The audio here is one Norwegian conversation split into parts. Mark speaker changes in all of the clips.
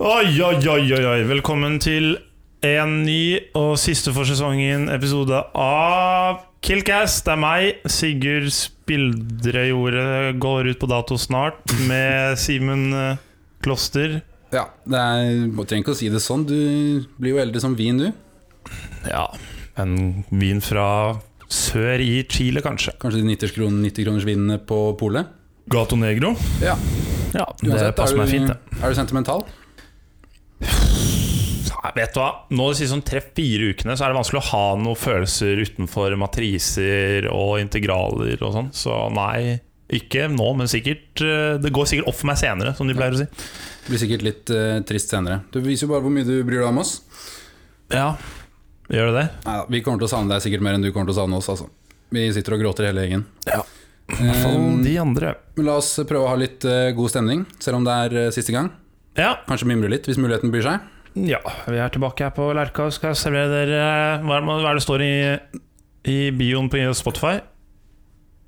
Speaker 1: Oi, oi, oi, oi, oi. Velkommen til en ny og siste for sesongen episode av Killcast. Det er meg. Sigurd Spildrejordet går ut på dato snart, med Simen eh, Kloster.
Speaker 2: Ja, det er, må trenger ikke å si det sånn. Du blir jo eldre som vin, du.
Speaker 1: Ja, en vin fra sør i Chile, kanskje.
Speaker 2: Kanskje de 90 kroners, 90 -kroners vinene på polet.
Speaker 1: Gato Negro.
Speaker 2: Ja,
Speaker 1: Ja,
Speaker 2: uansett,
Speaker 1: det passer
Speaker 2: er,
Speaker 1: meg
Speaker 2: du,
Speaker 1: fint, det.
Speaker 2: er du sentimental?
Speaker 1: Nei, vet du hva? Nå de siste sånn tre-fire ukene så er det vanskelig å ha noen følelser utenfor matriser og integraler og sånn. Så nei, ikke nå, men sikkert eh, Det går sikkert opp for meg senere, som de pleier å si.
Speaker 2: Blir sikkert litt eh, trist senere. Du viser jo bare hvor mye du bryr deg om oss.
Speaker 1: Ja, gjør det det?
Speaker 2: Neida, vi kommer til å savne deg sikkert mer enn du kommer til å savne oss, altså. Vi sitter og gråter hele gjengen.
Speaker 1: Ja. I hvert fall
Speaker 2: Eh,
Speaker 1: de andre.
Speaker 2: men la oss prøve å ha litt eh, god stemning, selv om det er eh, siste gang.
Speaker 1: Ja,
Speaker 2: Kanskje mimre litt, hvis muligheten byr seg.
Speaker 1: ja, vi er tilbake her på Lerka og skal servere dere eh, Hva er det, hva er det står i, i bioen på Spotify?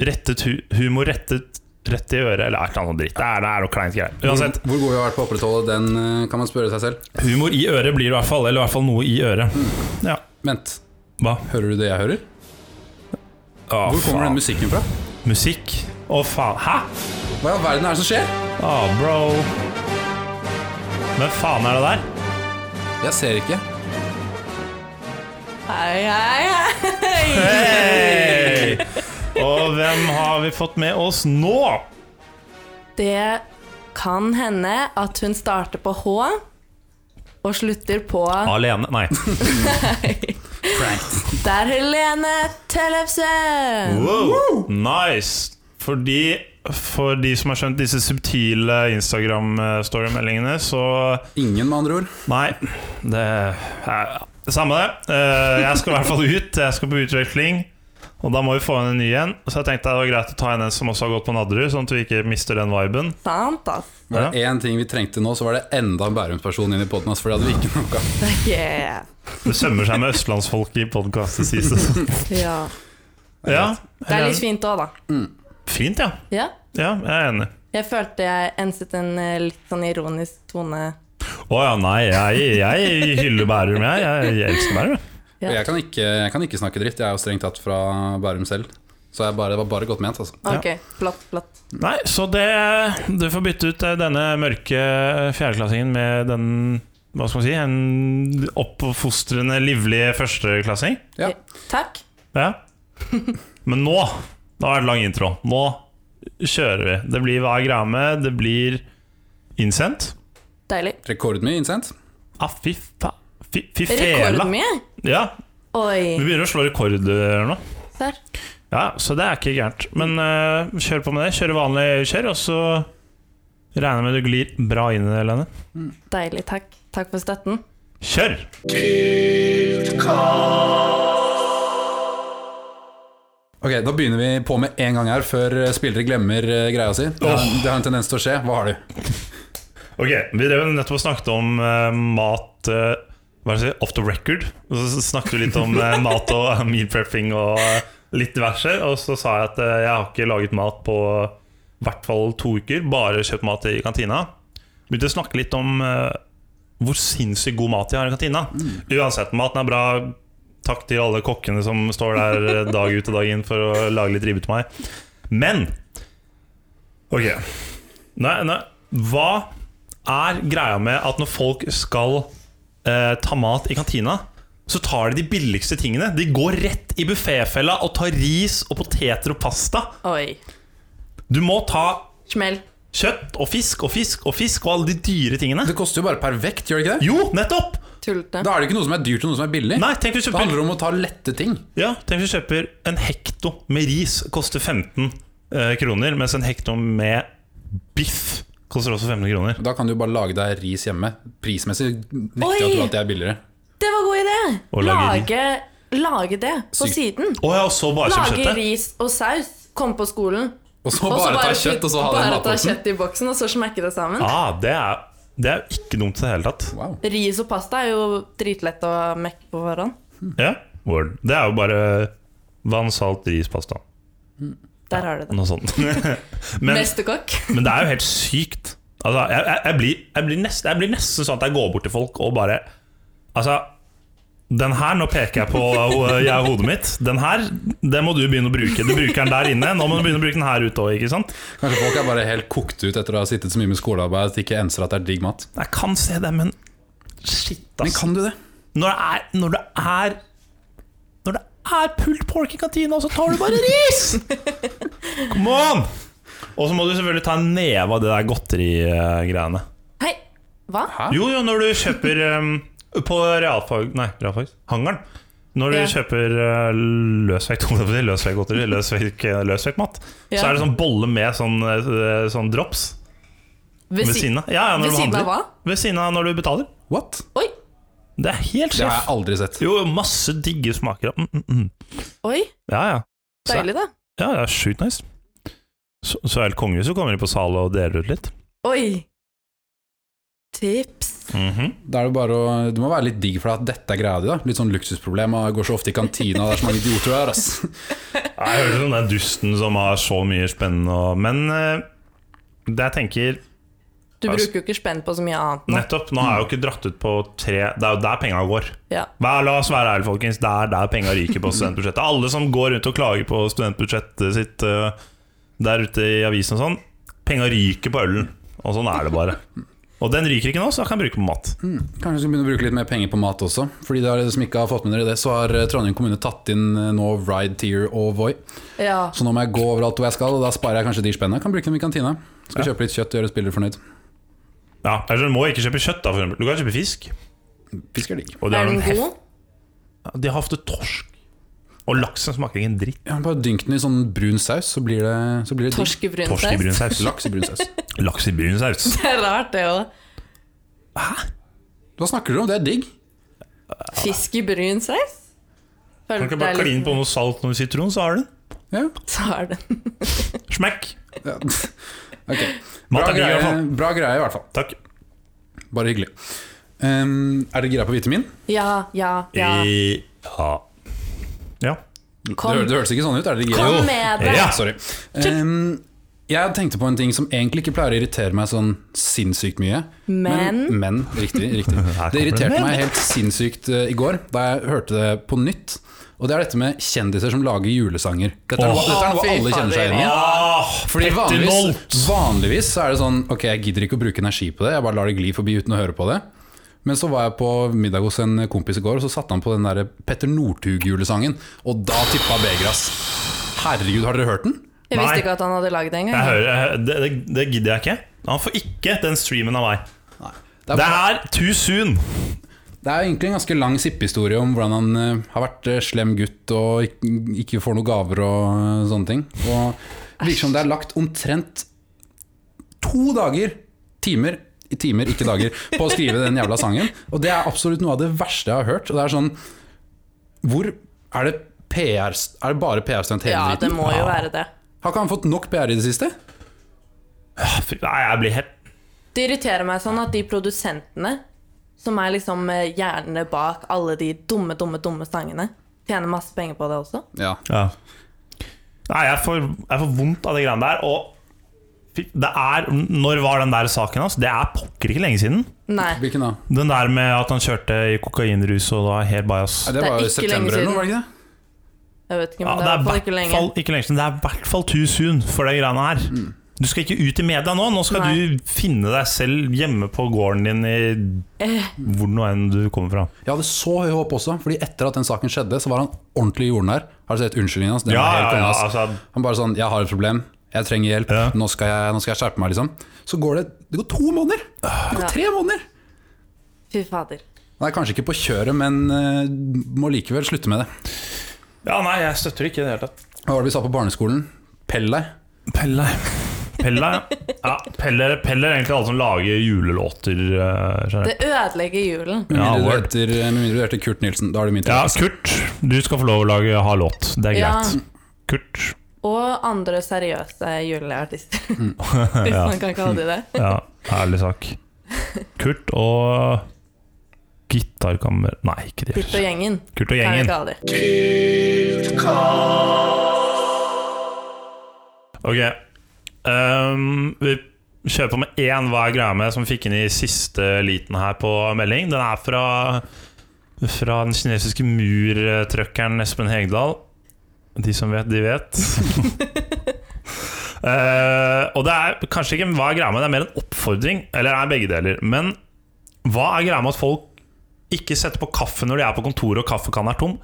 Speaker 1: Rettet hu humor rettet rett i øret, eller et eller annet dritt. Det er, det er noe kleint greier. Uansett.
Speaker 2: Hvor god vi har vært på å opprettholde den, eh, kan man spørre seg selv.
Speaker 1: Humor i øret blir det i hvert fall, eller i hvert fall noe i øret. Ja.
Speaker 2: Vent,
Speaker 1: Hva?
Speaker 2: hører du det jeg hører?
Speaker 1: Å,
Speaker 2: Hvor kommer den
Speaker 1: faen.
Speaker 2: musikken fra?
Speaker 1: Musikk? Å, faen. Hæ?
Speaker 2: Hva i all verden er det som skjer?
Speaker 1: Å, bro. Hvem faen er det der?
Speaker 2: Jeg ser ikke.
Speaker 3: Hei, hei, hei!
Speaker 1: Hei! Og hvem har vi fått med oss nå?
Speaker 3: Det kan hende at hun starter på H og slutter på
Speaker 1: Alene? Nei.
Speaker 3: Det er Helene Tellefsen!
Speaker 1: Wow. Nice. Fordi for de som har skjønt disse subtile Instagram-storymeldingene, så
Speaker 2: Ingen, med andre ord.
Speaker 1: Nei, det er det samme det. Eh, Jeg skal i hvert fall ut. Jeg skal på utveksling. Og da må vi få inn en ny en. Så jeg tenkte det var greit å ta inn en som også har gått på Nadderud, sånn at vi ikke mister den viben.
Speaker 3: Sant, ass.
Speaker 2: Var det én ting vi trengte nå, så var det enda en Bærums-person inn i poden. For det hadde vi ikke noe av.
Speaker 3: Yeah.
Speaker 1: Det sømmer seg med østlandsfolk i podkastet sist.
Speaker 3: Ja.
Speaker 1: Ja,
Speaker 3: Det er litt fint òg, da.
Speaker 1: Fint, ja.
Speaker 3: Ja.
Speaker 1: Ja, jeg er enig.
Speaker 3: Jeg følte jeg enset en eh, litt sånn ironisk tone.
Speaker 1: Å ja, nei, jeg, jeg hyller Bærum, jeg. Jeg, jeg elsker Bærum. jeg.
Speaker 3: Ja.
Speaker 2: Og jeg kan, ikke, jeg kan ikke snakke dritt. Jeg er jo strengt tatt fra Bærum selv. Så jeg bare, det var bare godt ment, altså.
Speaker 3: Ok, flott, flott.
Speaker 1: Nei, så det Du får bytte ut eh, denne mørke fjerdeklassingen med den Hva skal man si? En oppfostrende, livlig førsteklassing.
Speaker 2: Ja.
Speaker 3: Takk.
Speaker 1: Ja. Men nå Da er det lang intro. Nå kjører vi. Det blir hva er greia med. Det blir innsendt.
Speaker 3: Deilig.
Speaker 2: Rekordmye innsendt.
Speaker 1: Ah, fy fa... Fy, fy fela.
Speaker 3: Rekordmye.
Speaker 1: Ja, vi
Speaker 3: Oi.
Speaker 1: begynner å slå rekorder nå.
Speaker 3: Der.
Speaker 1: Ja, Så det er ikke gærent. Men eh, kjør på med det. Kjør vanlig kjør, og så regner jeg med du glir bra inn i det, Lene.
Speaker 3: Deilig, takk. Takk for støtten.
Speaker 1: Kjør!
Speaker 2: Ok, Da begynner vi på med en gang her, før spillere glemmer eh, greia si. Det har, det har en tendens til å skje. Hva har du?
Speaker 1: Ok, Vi drev nettopp og snakket om eh, mat eh, Hva er det jeg sier? Off the record. Og så snakket vi litt om eh, mat og meal prepping og eh, litt diverse. Og så sa jeg at eh, jeg har ikke laget mat på i hvert fall to uker. Bare kjøpt mat i kantina. Begynte å snakke litt om eh, hvor sinnssykt god mat de har i kantina. Uansett, maten er bra. Takk til alle kokkene som står der eh, dag ut og dag inn for å lage litt ribbe til meg. Men Ok. Nei, nei. Hva er greia med at når folk skal eh, ta mat i kantina, så tar de de billigste tingene. De går rett i bufféfella og tar ris og poteter og pasta.
Speaker 3: Oi.
Speaker 1: Du må ta
Speaker 3: Smell.
Speaker 1: kjøtt og fisk og fisk og fisk og alle de dyre tingene.
Speaker 2: Det koster jo bare per vekt, gjør det ikke det?
Speaker 1: Jo, nettopp!
Speaker 3: Tullete.
Speaker 2: Da er det jo ikke noe som er dyrt, og noe som er billig.
Speaker 1: Nei, tenk hvis du
Speaker 2: Det handler
Speaker 1: kjøper,
Speaker 2: om å ta lette ting.
Speaker 1: ja, tenk hvis du kjøper en hekto med ris, koster 15 eh, kroner, mens en hekto med biff koster også 15 kroner.
Speaker 2: Da kan du jo bare lage deg ris hjemme. Prismessig nekter jeg å
Speaker 3: Oi!
Speaker 2: tro at det er billigere.
Speaker 3: Det var god idé!
Speaker 1: Og lage
Speaker 3: Lage, lage det på
Speaker 2: Sykt.
Speaker 3: siden.
Speaker 1: Å ja, og så bare kjøpe
Speaker 3: Lage
Speaker 1: kjøttet.
Speaker 3: ris og saus. Komme på skolen.
Speaker 2: Og så
Speaker 3: Og så
Speaker 2: bare, ta kjøtt, og så ha det i
Speaker 3: bare ta
Speaker 2: matposten.
Speaker 3: kjøtt i boksen, og så smekke det sammen.
Speaker 1: Ah, det, er, det er jo ikke dumt i det hele tatt.
Speaker 2: Wow.
Speaker 3: Ris og pasta er jo dritlett å mekke på forhånd.
Speaker 1: Ja, word. Det er jo bare vann, salt, rispasta.
Speaker 3: Der har du det.
Speaker 1: Noe sånt. men,
Speaker 3: Mesterkokk.
Speaker 1: men det er jo helt sykt. Altså, jeg, jeg, jeg, blir, jeg, blir nesten, jeg blir nesten sånn at jeg går bort til folk og bare Altså, den her, nå peker jeg på eh, jeg og hodet mitt. Den her, det må du begynne å bruke. Du bruker den der inne, nå må du begynne å bruke den her ute òg, ikke sant?
Speaker 2: Kanskje folk er bare helt kokt ut etter å ha sittet så mye med skolearbeid at de ikke enser at det er digg mat.
Speaker 1: Jeg kan se det, men shit,
Speaker 2: Men
Speaker 1: ass.
Speaker 2: kan du det?
Speaker 1: Når det er Når det er, når det er pulled pork i kantina, så tar du bare ris! Come on! Og så må du selvfølgelig ta en neve av det der godterigreiene.
Speaker 3: Hei, hva?
Speaker 2: Hæ?
Speaker 1: Jo, jo, når du kjøper eh, På realfag Nei, realfag Hangaren Når du
Speaker 3: Ja.
Speaker 1: kjøper eh, løsvekt holdt jeg på å si, Løsvektgodteri Løsvekt løsvektmat Så
Speaker 3: Ja.
Speaker 1: er det sånn bolle med sånn, eh, sånn drops Ved
Speaker 3: si-
Speaker 1: siden av ja, ja, når
Speaker 3: ved
Speaker 1: du
Speaker 3: siden av
Speaker 1: handler. Ved siden av når du betaler
Speaker 2: What?
Speaker 3: Oi,
Speaker 1: Det er helt
Speaker 2: Det har jeg
Speaker 1: sjef
Speaker 2: aldri sett.
Speaker 1: Jo, masse digge smaker mm, mm, mm.
Speaker 3: oi,
Speaker 1: Ja, ja
Speaker 3: deilig da
Speaker 1: Ja, det er sykt nice Så, så er det kongehuset kommer de på salen og deler ut litt
Speaker 3: Oi Tips
Speaker 1: Mhm.
Speaker 2: Da er det bare å, du må være litt digg for at dette er greia di. da Litt sånn luksusproblem. og jeg Går så ofte i kantina, det er så mange idioter der. ass
Speaker 1: Jeg hører sånn den dusten som har så mye spennende og, Men eh, det jeg tenker
Speaker 3: Du
Speaker 1: Altså-
Speaker 3: bruker jo ikke spenn på så mye annet nå
Speaker 1: Nettopp. Nå har jeg jo ikke dratt ut på tre Det er jo der penga går.
Speaker 3: Ja,
Speaker 1: Vær, la oss være ærlige, folkens. Det er der penga ryker på studentbudsjettet. Alle som går rundt og klager på studentbudsjettet sitt eh, der ute i avisen og sånn, penga ryker på ølen. Og sånn er det bare. Og den ryker ikke nå, så jeg kan bruke den på mat.
Speaker 3: Mm.
Speaker 2: Kanskje vi skal begynne å bruke litt mer penger på mat også. Fordi det er det som ikke har fått med dere det, så har eh, Trondheim kommune tatt inn eh, nå Ride, Tear og Voi.
Speaker 3: ja.
Speaker 2: Så nå må jeg gå overalt hvor jeg skal, og da sparer jeg kanskje de spennene. Kan bruke dem i kantina. Skal kjøpe litt kjøtt og gjøre spillere fornøyd.
Speaker 1: Ja, eller Du må ikke kjøpe kjøtt, da, for eksempel. Du kan kjøpe fisk.
Speaker 2: Fisk er digg.
Speaker 1: Og de
Speaker 3: Er
Speaker 1: har,
Speaker 3: den
Speaker 1: noen hef
Speaker 3: god?
Speaker 1: Ja, de har ofte torsk. Og laksen smaker ikke en dritt.
Speaker 2: Ja, bare dynk den i sånn brun saus, så blir det, så blir det digg.
Speaker 3: Torsk i brun
Speaker 1: Torsk i brun
Speaker 3: saus?
Speaker 1: saus.
Speaker 2: Laks i brun saus.
Speaker 1: Laks i brun saus.
Speaker 3: Det er rart det også
Speaker 2: Hva snakker du om? Det er digg.
Speaker 3: Fisk i brun saus?
Speaker 1: Kan ikke bare kline på noe salt og noe sitron, så har du den.
Speaker 2: Ja.
Speaker 3: Så er den
Speaker 1: Smekk.
Speaker 2: ja. Ok.
Speaker 1: Mat
Speaker 2: Bra
Speaker 1: er digg, i hvert
Speaker 2: greie,
Speaker 1: fall.
Speaker 2: bra greie, i hvert fall.
Speaker 1: Takk.
Speaker 2: Bare hyggelig. Ehm, er dere gira på vitamin?
Speaker 3: Ja, ja, ja
Speaker 1: I- ja. ja.
Speaker 2: Det,
Speaker 3: Kom,
Speaker 2: hø- det hørtes ikke sånn ut. Er dere gira? Ah,
Speaker 3: kom med det
Speaker 1: Ja.
Speaker 2: Sorry. Ehm, jeg tenkte på en ting som egentlig ikke pleier å irritere meg sånn sinnssykt mye.
Speaker 3: Men?
Speaker 2: Men, men riktig. riktig.
Speaker 1: kommer
Speaker 2: Det irriterte
Speaker 1: det.
Speaker 2: meg helt sinnssykt eh, i går da jeg hørte det på nytt. Og det er dette med kjendiser som lager julesanger. Dette er,
Speaker 1: Åh.
Speaker 2: dette er noe
Speaker 3: Fy
Speaker 2: alle kjenner seg igjen i.
Speaker 1: Ah,
Speaker 2: Fordi
Speaker 1: Petter Molt.
Speaker 2: vanligvis, vanligvis så er det sånn Ok, jeg gidder ikke å bruke energi på det, jeg bare lar det gli forbi uten å høre på det. Men så var jeg på middag hos en kompis i går, og så satte han på den der Petter Northug-julesangen. Og da tippa Begras. Herregud, har dere hørt den?
Speaker 3: Jeg visste
Speaker 1: Nei.
Speaker 3: ikke at han hadde laget det en
Speaker 1: Jeg
Speaker 3: gang
Speaker 1: hører, jeg hører- det, det, det gidder jeg ikke. Han får ikke den streamen av meg.
Speaker 2: Det
Speaker 1: Det
Speaker 2: er,
Speaker 1: er too soon!
Speaker 2: det er egentlig en ganske lang sippehistorie om hvordan han eh, har vært eh, slem gutt og ikke, ikke får noen gaver og eh, sånne ting. Og det virker som det er lagt omtrent to dager, timer, i timer, ikke dager, på å skrive den jævla sangen. Og det er absolutt noe av det verste jeg har hørt. Og det er sånn Hvor er det PR Er det bare PR-stunt hele
Speaker 3: Ja, det
Speaker 2: tiden?
Speaker 3: må jo være det
Speaker 2: Har ikke han fått nok PR i det siste?
Speaker 1: Ah, fy- Nei, jeg blir helt
Speaker 3: Det irriterer meg sånn at de produsentene som er liksom eh, hjernene bak alle de dumme, dumme, dumme sangene, tjener masse penger på det også.
Speaker 2: Ja.
Speaker 1: Nei, jeg får, jeg får vondt av de greiene der. Og fy- det er Når var den der saken hans? Det er pokker ikke lenge siden.
Speaker 3: Nei.
Speaker 2: Hvilken da?
Speaker 1: Den der med at han kjørte i kokainrus og var helt bajas.
Speaker 2: Nei, det
Speaker 3: Det er
Speaker 2: var jo
Speaker 3: ikke
Speaker 2: september
Speaker 3: lenge
Speaker 2: eller noe, var
Speaker 3: siden.
Speaker 2: det ikke det?
Speaker 3: Jeg vet ikke,
Speaker 1: Ja,
Speaker 3: men
Speaker 1: det er i
Speaker 3: i hvert
Speaker 1: hvert
Speaker 3: ikke lenge.
Speaker 1: fall ikke lenge siden. Det er i hvert fall too soon for de greiene her. Du skal ikke ut i media nå. Nå skal
Speaker 3: Nei.
Speaker 1: du finne deg selv hjemme på gården din i
Speaker 3: Eh.
Speaker 1: hvor nå enn du kommer fra.
Speaker 2: Jeg hadde så høy håp også, fordi etter at den saken skjedde, så var han ordentlig jordnær. Har du sett unnskyldningen hans? Den
Speaker 1: Ja,
Speaker 2: var
Speaker 1: ja,
Speaker 2: helt konge,
Speaker 1: ja,
Speaker 2: ass.
Speaker 1: altså,
Speaker 2: Han bare sånn 'Jeg har et problem. Jeg trenger hjelp.
Speaker 1: Ja.
Speaker 2: Nå, skal jeg, nå skal jeg skjerpe meg', liksom. Så går det Det går to måneder! Det går
Speaker 3: Ja.
Speaker 2: tre måneder!
Speaker 3: Fy fader.
Speaker 2: Han er kanskje ikke på kjøret, men eh, må likevel slutte med det.
Speaker 1: ja, nei, jeg støtter ikke i det hele tatt.
Speaker 2: Hva var det vi sa på barneskolen? Pell deg.
Speaker 1: Pelle. Pelle, ja, Peller, Peller er egentlig alle som lager julelåter. eh, generelt.
Speaker 3: Det ødelegger julen.
Speaker 2: Med
Speaker 1: Ja,
Speaker 2: mindre
Speaker 1: word.
Speaker 2: du heter, med mindre du heter Kurt Nilsen. Da er det min tur.
Speaker 1: Ja, Kurt, du skal få lov å lage ha låt. Det er
Speaker 3: Ja.
Speaker 1: greit. Kurt.
Speaker 3: Og andre seriøse juleartister, hvis
Speaker 1: Ja.
Speaker 3: man kan kalle de det.
Speaker 1: Ja, ærlig sak. Kurt og gitarkammer Nei, ikke det.
Speaker 3: Pitt og gjengen,
Speaker 1: Kurt og
Speaker 3: kan vi
Speaker 1: gjengen.
Speaker 3: kalle de.
Speaker 1: Ok. Ehm, vi Kjør på med én hva er greia med som fikk inn i siste liten her på melding. Den er fra, fra den kinesiske murtrøkkeren Espen Hegdal. De som vet, de vet. Eh, og det er kanskje ikke en hva er greia med, det er mer en oppfordring. Eller det er begge deler. Men hva er greia med at folk ikke setter på kaffe når de er på kontoret og kaffekannen er tom?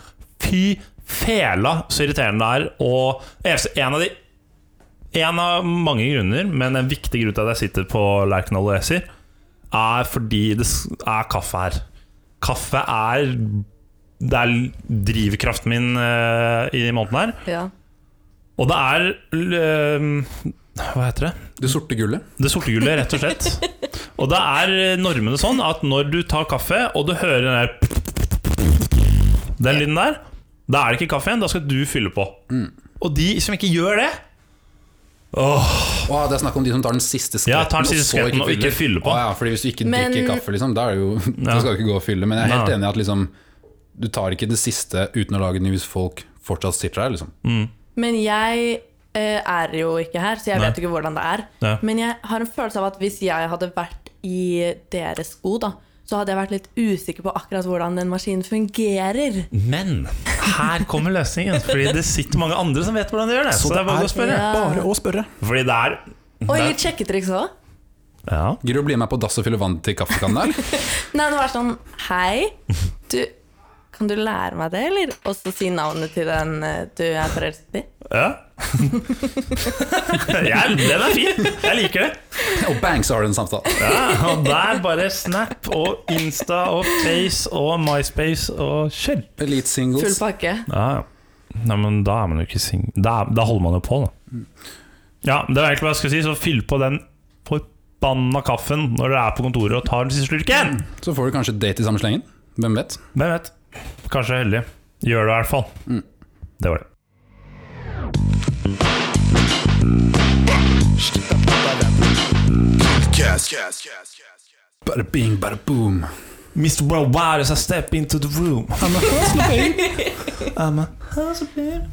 Speaker 1: Fy fela så irriterende det er. Og eneste- en av de en av mange grunner, men en viktig grunn til at jeg sitter på Lerkendal og leser, er fordi det s- er kaffe her. Kaffe er Det er drivkraften min eh, i måneden her.
Speaker 3: Ja.
Speaker 1: Og det er l- eh, Hva heter det?
Speaker 2: Det sorte gullet.
Speaker 1: Det sorte gullet, rett og slett. Og det er normene sånn at når du tar kaffe, og du hører den der Den lyden der, da er det ikke kaffe igjen, da skal du fylle på. Og de som ikke gjør det Åh,
Speaker 2: Å, det er snakk om de som tar den siste skvetten,
Speaker 1: Ja, tar den siste
Speaker 2: så
Speaker 1: skvetten og ikke fyller på.
Speaker 2: Å, ja, fordi hvis du ikke
Speaker 3: Men-
Speaker 2: drikker kaffe, liksom, da, er det jo, da skal du ikke gå og fylle. Men jeg er helt
Speaker 1: Nei.
Speaker 2: enig i at liksom, du tar ikke det siste uten å lage den hvis folk fortsatt sitter der. Liksom.
Speaker 3: Men jeg eh, er jo ikke her, så jeg
Speaker 1: Nei.
Speaker 3: vet ikke hvordan det er.
Speaker 1: Ja.
Speaker 3: Men jeg har en følelse av at hvis jeg hadde vært i deres sko, da, så hadde jeg vært litt usikker på akkurat hvordan den maskinen fungerer.
Speaker 1: Men her kommer løsningen, fordi det sitter mange andre som vet hvordan de gjør det. Så, det er bare å spørre.
Speaker 3: Ja. bare
Speaker 2: å spørre.
Speaker 1: Fordi det er
Speaker 3: Oi,
Speaker 1: det er-
Speaker 3: litt sjekketriks òg.
Speaker 1: ja.
Speaker 2: Gidder du å bli med på dass og fylle vann til kaffekannen der? eller?
Speaker 3: Nei, det var sånn Hei, du Kan du lære meg det, eller? Og så si navnet til den eh, du er forelsket i.
Speaker 1: ja. Jeg- Den er fin. Jeg liker det.
Speaker 2: og bang, så har du en samtale.
Speaker 1: Ja, og der bare Snap og Insta og Face og MySpace og kjør.
Speaker 2: Elite
Speaker 3: Full
Speaker 2: singles.
Speaker 3: pakke.
Speaker 1: Ja, ja. Nei, men da er man jo ikke sing... Da, da holder man jo på, da. Ja, det var egentlig hva jeg skulle si, så fyll på den forbanna kaffen når dere er på kontoret og tar den siste slurken.
Speaker 2: Så får du kanskje date i samme slengen. Hvem vet?
Speaker 1: Hvem vet? Kanskje heldig. Gjør det i hvert fall. Det var det.
Speaker 4: Cast, cast, cast, cast, cast.
Speaker 2: Bada bing, bada boom.
Speaker 1: Mr. Worldwide as I step into the room. I'm a husband. I'm a husband.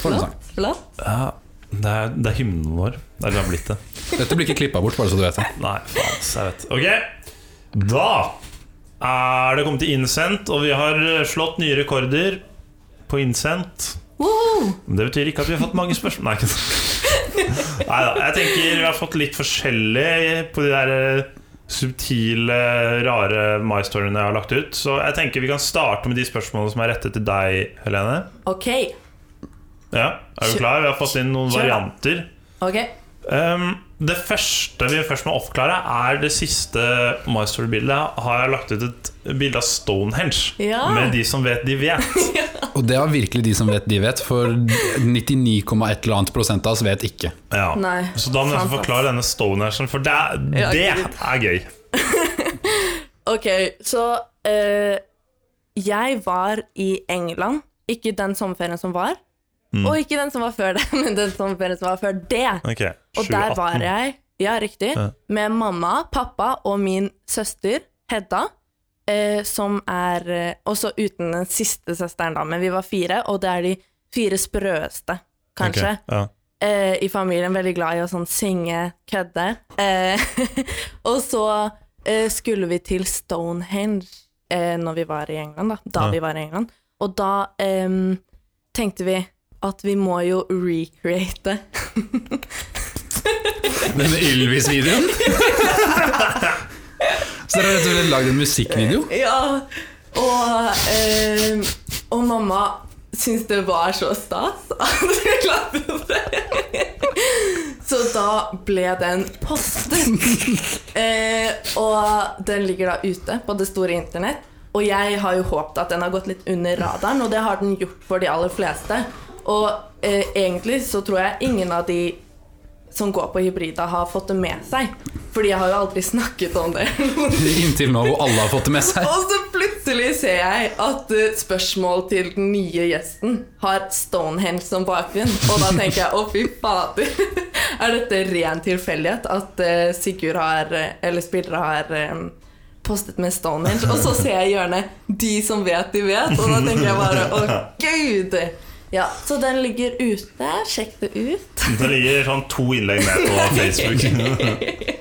Speaker 2: For en sang.
Speaker 3: Flott.
Speaker 1: Ja, det er, det er hymnen vår. Det er det det har blitt det.
Speaker 2: Dette blir ikke klippa bort, bare så du vet det.
Speaker 1: Nei, faen, ass, jeg vet Ok, da er det kommet til innsendt Og vi har slått nye rekorder På innsendt
Speaker 3: Woho!
Speaker 1: Men det betyr ikke at vi har fått mange spørsmål Nei, ikke sant Neida, jeg tenker vi har fått litt forskjellig På de der eh, subtile, rare my-storyene jeg har lagt ut Så jeg tenker vi kan starte med de spørsmålene som er rettet til deg, Helene
Speaker 3: Ok.
Speaker 1: Ja, er
Speaker 3: Kjør.
Speaker 1: du klar? Vi har fått inn noen
Speaker 3: Kjør da.
Speaker 1: varianter
Speaker 3: Ok.
Speaker 1: Um, det første vi først må oppklare, er det siste My Story-bildet. Har jeg lagt ut et bilde av Stonehenge.
Speaker 3: Ja.
Speaker 1: Med de som vet, de vet.
Speaker 2: Og det var virkelig de som vet, de vet. For 99,1 eller annet prosent av oss vet ikke.
Speaker 1: Ja.
Speaker 3: Nei,
Speaker 1: Så da må jeg
Speaker 3: sant,
Speaker 1: få forklare denne Stonehenge, for det,
Speaker 3: Ja,
Speaker 1: det
Speaker 3: gud.
Speaker 1: er gøy.
Speaker 3: Ok, så eh, Jeg var i England. Ikke den sommerferien som var,
Speaker 1: Mm.
Speaker 3: og ikke den som var før det, men den sommerferien som var før det.
Speaker 1: Ok, 7,
Speaker 3: Og
Speaker 1: 18.
Speaker 3: der var jeg, ja, riktig,
Speaker 1: Ja.
Speaker 3: med mamma, pappa og min søster, Hedda, eh, som er eh, også uten den siste søsteren, da, men vi var fire, og det er de fire sprøeste,
Speaker 1: Ok,
Speaker 3: kanskje,
Speaker 1: ja.
Speaker 3: eh, i familien. Veldig glad i å sånn synge, kødde. Eh, og så eh, skulle vi til Stonehenge eh, når vi var i England, da. Da
Speaker 1: Ja.
Speaker 3: vi var i England. Og da em, tenkte vi at vi må jo recreate
Speaker 2: Den Ylvis-videoen. Så dere har rett og slett lagd en musikkvideo?
Speaker 3: Ja, og, eh, og mamma syntes det var så stas at vi klarte det. Så da ble den postet. Eh, og den ligger da ute på det store internett. Og jeg har jo håpet at den har gått litt under radaren, og det har den gjort for de aller fleste. Og eh, egentlig så tror jeg ingen av de som går på hybrida, har fått det med seg. Fordi jeg har jo aldri snakket om det.
Speaker 2: Inntil nå hvor alle har fått det med seg.
Speaker 3: Og så plutselig ser jeg at eh, spørsmål til den nye gjesten har Stonehenge som bakgrunn. Og da tenker jeg å, fy fader. Er dette ren tilfeldighet at eh, Sigurd har eh, Eller spillere har eh, postet med Stonehenge? Og så ser jeg i hjørnet 'De som vet, de vet', og da tenker jeg bare å, gud. Ja, så den ligger ute. Sjekk det ut.
Speaker 1: Det ligger sånn to innlegg med på Facebook.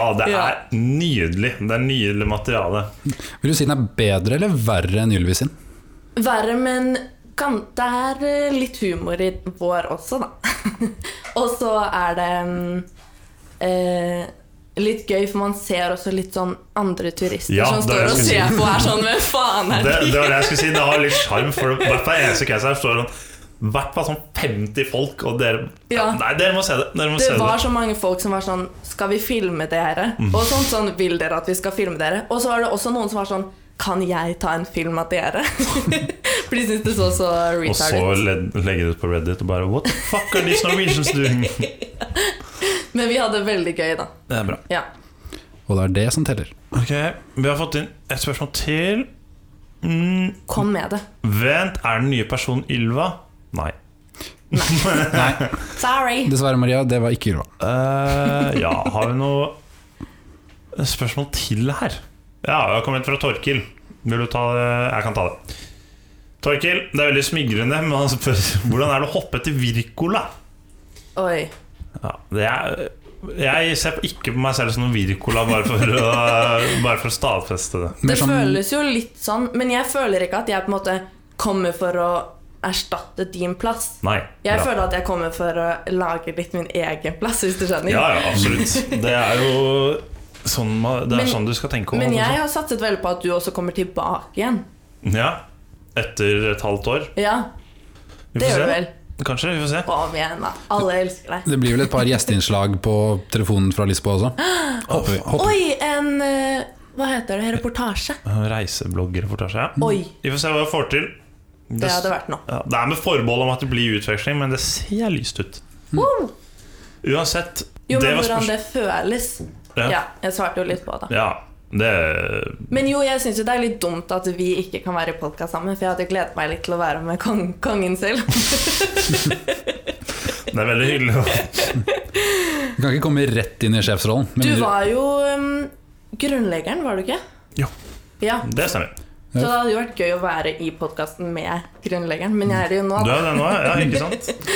Speaker 1: Ah, det
Speaker 3: Ja.
Speaker 1: er nydelig. Det er nydelig materiale.
Speaker 2: Vil du si den er bedre eller verre enn Ylvis sin?
Speaker 3: Verre, men kan, det er eh, litt humor i vår også, da. og så er det mm, eh, litt gøy, for man ser også litt sånn andre turister
Speaker 1: Ja,
Speaker 3: som
Speaker 1: det er
Speaker 3: står
Speaker 1: det jeg skulle
Speaker 3: og ser på og er sånn Hvem faen
Speaker 1: Det,
Speaker 3: er de?
Speaker 1: det var det jeg skulle si. Det har litt sjarm. For det- hvert fall eneste case her står sånn hvert fall sånn 50 folk, og dere
Speaker 3: Ja.
Speaker 1: Nei, dere må se det. Dere må se
Speaker 3: Det var
Speaker 1: det.
Speaker 3: så mange folk som var sånn Skal vi filme dere?
Speaker 1: Mm.
Speaker 3: Og sånn sånn Vil dere at vi skal filme dere? Og så var det også noen som var sånn Kan jeg ta en film av dere? For de syntes det så så
Speaker 1: Og så
Speaker 3: retard ut.
Speaker 1: led- legge det ut på Reddit og bare What the fuck are these Norwegians doing?
Speaker 3: Men vi hadde det veldig gøy, da.
Speaker 1: Det er bra.
Speaker 3: Ja.
Speaker 2: Og det er det som teller.
Speaker 1: Ok, Vi har fått inn et spørsmål til. Mm,
Speaker 3: Kom med det.
Speaker 1: vent, er den nye personen Ylva? Nei.
Speaker 3: Sorry.
Speaker 2: Dessverre, Maria, det var ikke Ylva.
Speaker 1: Eh, ja, har vi noe spørsmål til her? Ja, vi har kommet fra Torkil. Vil du ta det? Jeg kan ta det. Torkil, det er veldig smigrende, men han spør hvordan er det å hoppe til Wirkola?
Speaker 3: Oi.
Speaker 1: Ja, det er, jeg ser ikke på meg selv som noen Wirkola, bare, for å- bare for å stadfeste det.
Speaker 2: Mer
Speaker 3: Det
Speaker 2: sånn-
Speaker 3: føles jo litt sånn, men jeg føler ikke at jeg på en måte kommer for å erstatte din plass.
Speaker 1: Nei.
Speaker 3: Jeg
Speaker 1: bra.
Speaker 3: føler at jeg kommer for å lage litt min egen plass, hvis du skjønner.
Speaker 1: Ja, ja, absolutt. Det er jo sånn, ma- det er
Speaker 3: Men-
Speaker 1: sånn du skal tenke om
Speaker 3: Men
Speaker 1: det,
Speaker 3: jeg har satset veldig på at du også kommer tilbake igjen.
Speaker 1: sånn. Ja, etter et halvt år.
Speaker 3: Ja,
Speaker 1: Vi
Speaker 3: det
Speaker 1: får
Speaker 3: gjør du
Speaker 1: se.
Speaker 3: vel.
Speaker 1: Kanskje, vi får se.
Speaker 3: Kom igjen, da. Alle elsker deg.
Speaker 2: Det blir vel et par gjesteinnslag på telefonen fra Lisboa også. Håper vi. Håper.
Speaker 3: Oi, en eh, Hva heter det? Reportasje?
Speaker 1: Reisebloggreportasje. Ja.
Speaker 3: Oi.
Speaker 1: Vi får se hva vi får til. Det,
Speaker 3: Mm. Det hadde vært noe.
Speaker 1: ja, det er med forbehold om at det blir utveksling, men det ser lyst ut.
Speaker 3: Wow.
Speaker 1: Uansett,
Speaker 3: Jo,
Speaker 1: Mm. det
Speaker 3: men
Speaker 1: var
Speaker 3: hvordan
Speaker 1: spørsmålet.
Speaker 3: det føles.
Speaker 1: Ja.
Speaker 3: Ja, jeg svarte jo litt på det.
Speaker 1: Ja, det
Speaker 3: Men jo, jeg syns jo det er litt dumt at vi ikke kan være i podkast sammen, for jeg hadde gledet meg litt til å være med kong kongen selv.
Speaker 1: det er veldig hyggelig.
Speaker 2: Du kan ikke komme rett inn i sjefsrollen. med
Speaker 3: Du
Speaker 2: mindre-
Speaker 3: var jo um, grunnleggeren, var du ikke?
Speaker 1: Jo,
Speaker 3: Ja,
Speaker 1: det stemmer.
Speaker 3: Så det hadde jo vært gøy å være i podkasten med grunnleggeren, men jeg er det jo nå.
Speaker 1: Du
Speaker 3: da.
Speaker 1: er det nå, ja, ikke sant?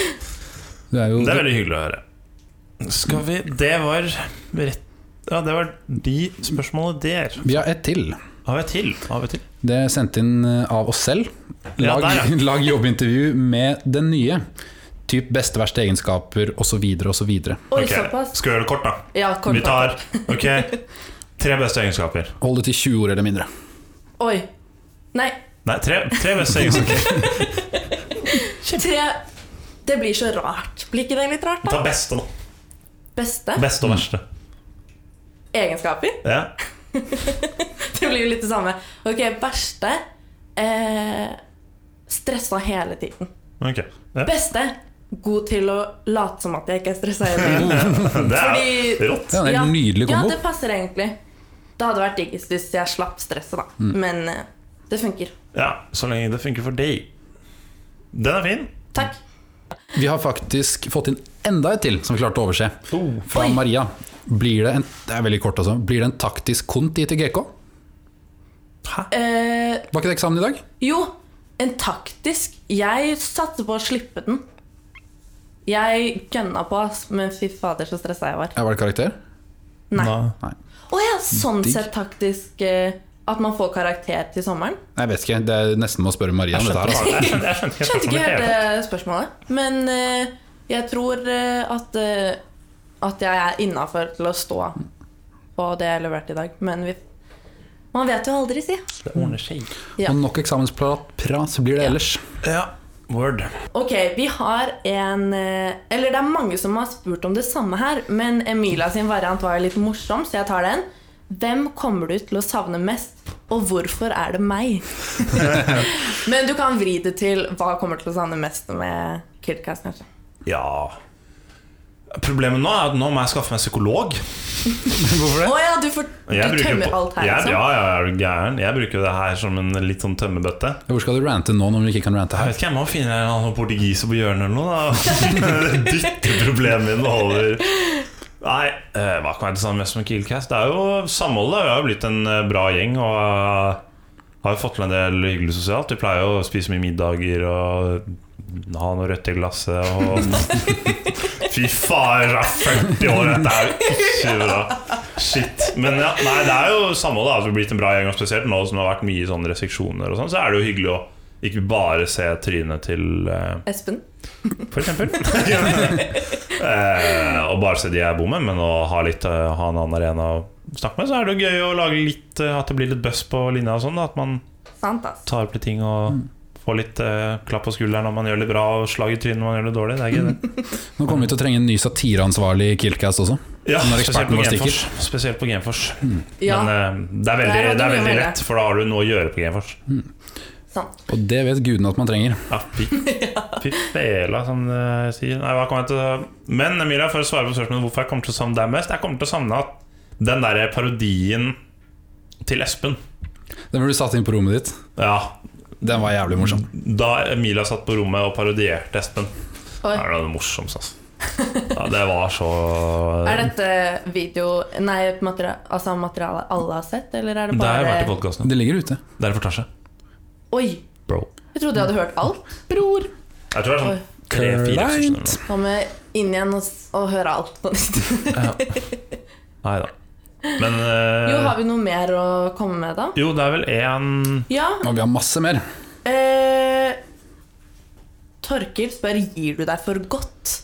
Speaker 2: du er jo,
Speaker 1: Det er veldig hyggelig å høre. Skal vi Det var rett Ja, det var de spørsmålene der.
Speaker 2: Vi har ett til.
Speaker 1: Har vi et til? Har vi et til?
Speaker 2: Det er sendt inn eh, av oss selv.
Speaker 1: Ja,
Speaker 2: Lag,
Speaker 1: der,
Speaker 2: lag jobbintervju med den nye. Typ beste, verste egenskaper osv. osv.
Speaker 3: Oi,
Speaker 1: Ok,
Speaker 3: såpass.
Speaker 1: Skal vi gjøre det kort, da?
Speaker 3: Ja, kort
Speaker 1: Vi tar Ok, tre beste egenskaper.
Speaker 2: Hold det til 20 år eller mindre.
Speaker 3: Oi. Nei,
Speaker 1: Nei, tre, tre beste egenskaper.
Speaker 3: tre Det blir så rart. Blir ikke det litt rart,
Speaker 1: Ta
Speaker 3: da?
Speaker 1: beste, da.
Speaker 3: Beste
Speaker 1: Beste og verste.
Speaker 3: egenskaper.
Speaker 1: Ja.
Speaker 3: Det blir jo litt det samme. Ok, verste eh, Stressa hele tiden.
Speaker 1: Ok. Ja.
Speaker 3: Beste god til å late som at jeg ikke er stressa hele tiden.
Speaker 1: Det er
Speaker 3: Fordi-
Speaker 1: rått.
Speaker 2: Det er en helt nydelig kombo.
Speaker 3: Ja, det passer egentlig. Det hadde vært diggest hvis jeg slapp stresset, da.
Speaker 2: Mm.
Speaker 3: Men eh, det funker.
Speaker 1: Ja, så lenge det funker for deg. Den er fin.
Speaker 3: Takk.
Speaker 2: Vi har faktisk fått inn enda et til som vi klarte å overse. Fra
Speaker 3: Oi.
Speaker 2: Maria. Blir det, en, det er veldig kort altså. Blir det en taktisk kont i til GK?
Speaker 3: Eh,
Speaker 2: Var ikke det eksamen i dag?
Speaker 3: jo, en taktisk Jeg satte på å slippe den. Jeg gønna på, ass, men fy fader, så stressa jeg var.
Speaker 2: Ja, var det karakter?
Speaker 3: Nei. Å
Speaker 1: Nei.
Speaker 3: ja, sånn
Speaker 2: Digg.
Speaker 3: sett taktisk eh, at man får karakter til sommeren.
Speaker 2: Nei, Jeg vet ikke. Det er nesten må spørre Maria om dette her. Altså.
Speaker 1: Jeg skjønte, jeg skjønte ikke spørsmålet
Speaker 3: Skjønte ikke
Speaker 1: i det
Speaker 3: helt
Speaker 1: hele tatt.
Speaker 3: eh, spørsmålet. Men eh, jeg tror eh, at, eh, at jeg er innafor til å stå på det jeg leverte i dag. Men vi, man vet jo aldri, si.
Speaker 1: Det ordner seg.
Speaker 3: Ja.
Speaker 2: altså. Og nok eksamensprat prat, så blir det ellers.
Speaker 1: Ja. Word.
Speaker 3: Ok, vi har en eh, Eller det er mange som har spurt om det samme her, men Emilia sin variant var jo litt morsom, så jeg tar den. Hvem kommer du til å savne mest, og hvorfor er det meg? men du kan vri det til hva kommer du til å savne mest med Kidcast, kanskje.
Speaker 1: Ja. Problemet nå er at nå må jeg skaffe meg psykolog.
Speaker 2: Hvorfor
Speaker 3: Å ja, du, får,
Speaker 1: Jeg
Speaker 3: du
Speaker 1: bruker
Speaker 3: tømmer
Speaker 1: på-
Speaker 3: alt her,
Speaker 1: jeg,
Speaker 3: liksom?
Speaker 1: Ja, ja, er du gæren? Jeg bruker jo det her som en litt sånn tømmebøtte.
Speaker 2: Hvor skal du rante nå når du ikke kan rante
Speaker 1: Jeg
Speaker 2: her?
Speaker 1: vet ikke, jeg må finne en annen portugiser på hjørnet eller noe. da Dytte problemet mine over. Nei, eh, hva kan være det samme mest med Killcast? Det er jo samholdet. Vi har jo blitt en eh, bra gjeng og eh, har jo fått til en del hyggelig sosialt. Vi pleier jo å spise mye middager og ha noe rødt i glasset og Fy faen, jeg er 40 år, dette er jo ikke bra. Shit. Men ja, nei, det er jo samholdet har altså blitt en bra gjeng, og spesielt nå som det har vært mye sånne restriksjoner og sånn, så er det jo hyggelig å ikke bare se trynet til eh,
Speaker 3: Espen?
Speaker 1: for eksempel. eh, og bare se de jeg bor med, men å ha, litt, eh, ha en annen arena å snakke med, så er det jo gøy å lage litt eh, At det blir litt buzz på linja og sånn. da, At man
Speaker 3: Sant, ass.
Speaker 1: tar opp litt ting og
Speaker 2: Mm.
Speaker 1: får litt eh, klapp på skulderen når man gjør det bra, og slag i trynet når man gjør det dårlig. Det er gøy,
Speaker 2: Mm.
Speaker 1: det.
Speaker 2: Nå kommer vi til å trenge en ny satireansvarlig i Kiltcast også.
Speaker 1: Ja,
Speaker 2: Når
Speaker 1: spesielt
Speaker 2: eksperten
Speaker 1: på
Speaker 2: vår
Speaker 1: Genfors.
Speaker 2: stikker. Mm.
Speaker 1: Spesielt på Genfors.
Speaker 3: Ja,
Speaker 1: Men eh, det er veldig,
Speaker 3: Der hadde
Speaker 1: det er
Speaker 3: vi
Speaker 1: veldig
Speaker 3: med
Speaker 1: rett, for da har du noe å gjøre på Genfors.
Speaker 3: sant.
Speaker 2: Og det vet gudene at man trenger.
Speaker 1: Ja, fy, fy fela, som det sier. Nei, hva kommer jeg til å Men Emilia, for å svare på spørsmålet hvorfor jeg kommer til å savne deg mest Jeg kommer til å savne at den der parodien til Espen
Speaker 2: Den ble satt inn på rommet ditt.
Speaker 1: Ja,
Speaker 2: Den var jævlig morsom.
Speaker 1: da Emilia satt på rommet og parodierte Espen. Det
Speaker 3: Oi.
Speaker 1: er noe av det morsomste, altså. Ja, det var så eh,
Speaker 3: Er dette video Nei, materi altså materiale alle har sett, eller er det
Speaker 1: Det har
Speaker 3: bare
Speaker 1: jeg vært i podkasten.
Speaker 2: Det ligger ute.
Speaker 1: Det er reportasje.
Speaker 3: Oi!
Speaker 1: Bro.
Speaker 3: Jeg trodde jeg hadde hørt alt. Bror!
Speaker 1: Jeg tror det er
Speaker 3: Oi.
Speaker 1: sånn tre-fire
Speaker 2: Kleint.
Speaker 3: Da må jeg inn igjen og, s- og høre alt på nytt.
Speaker 1: Nei da. Men eh,
Speaker 3: Jo, har vi noe mer å komme med, da?
Speaker 1: jo, det er vel én
Speaker 3: Ja.
Speaker 2: Og vi har masse mer.
Speaker 3: Eh, Torkil spør gir du deg for godt.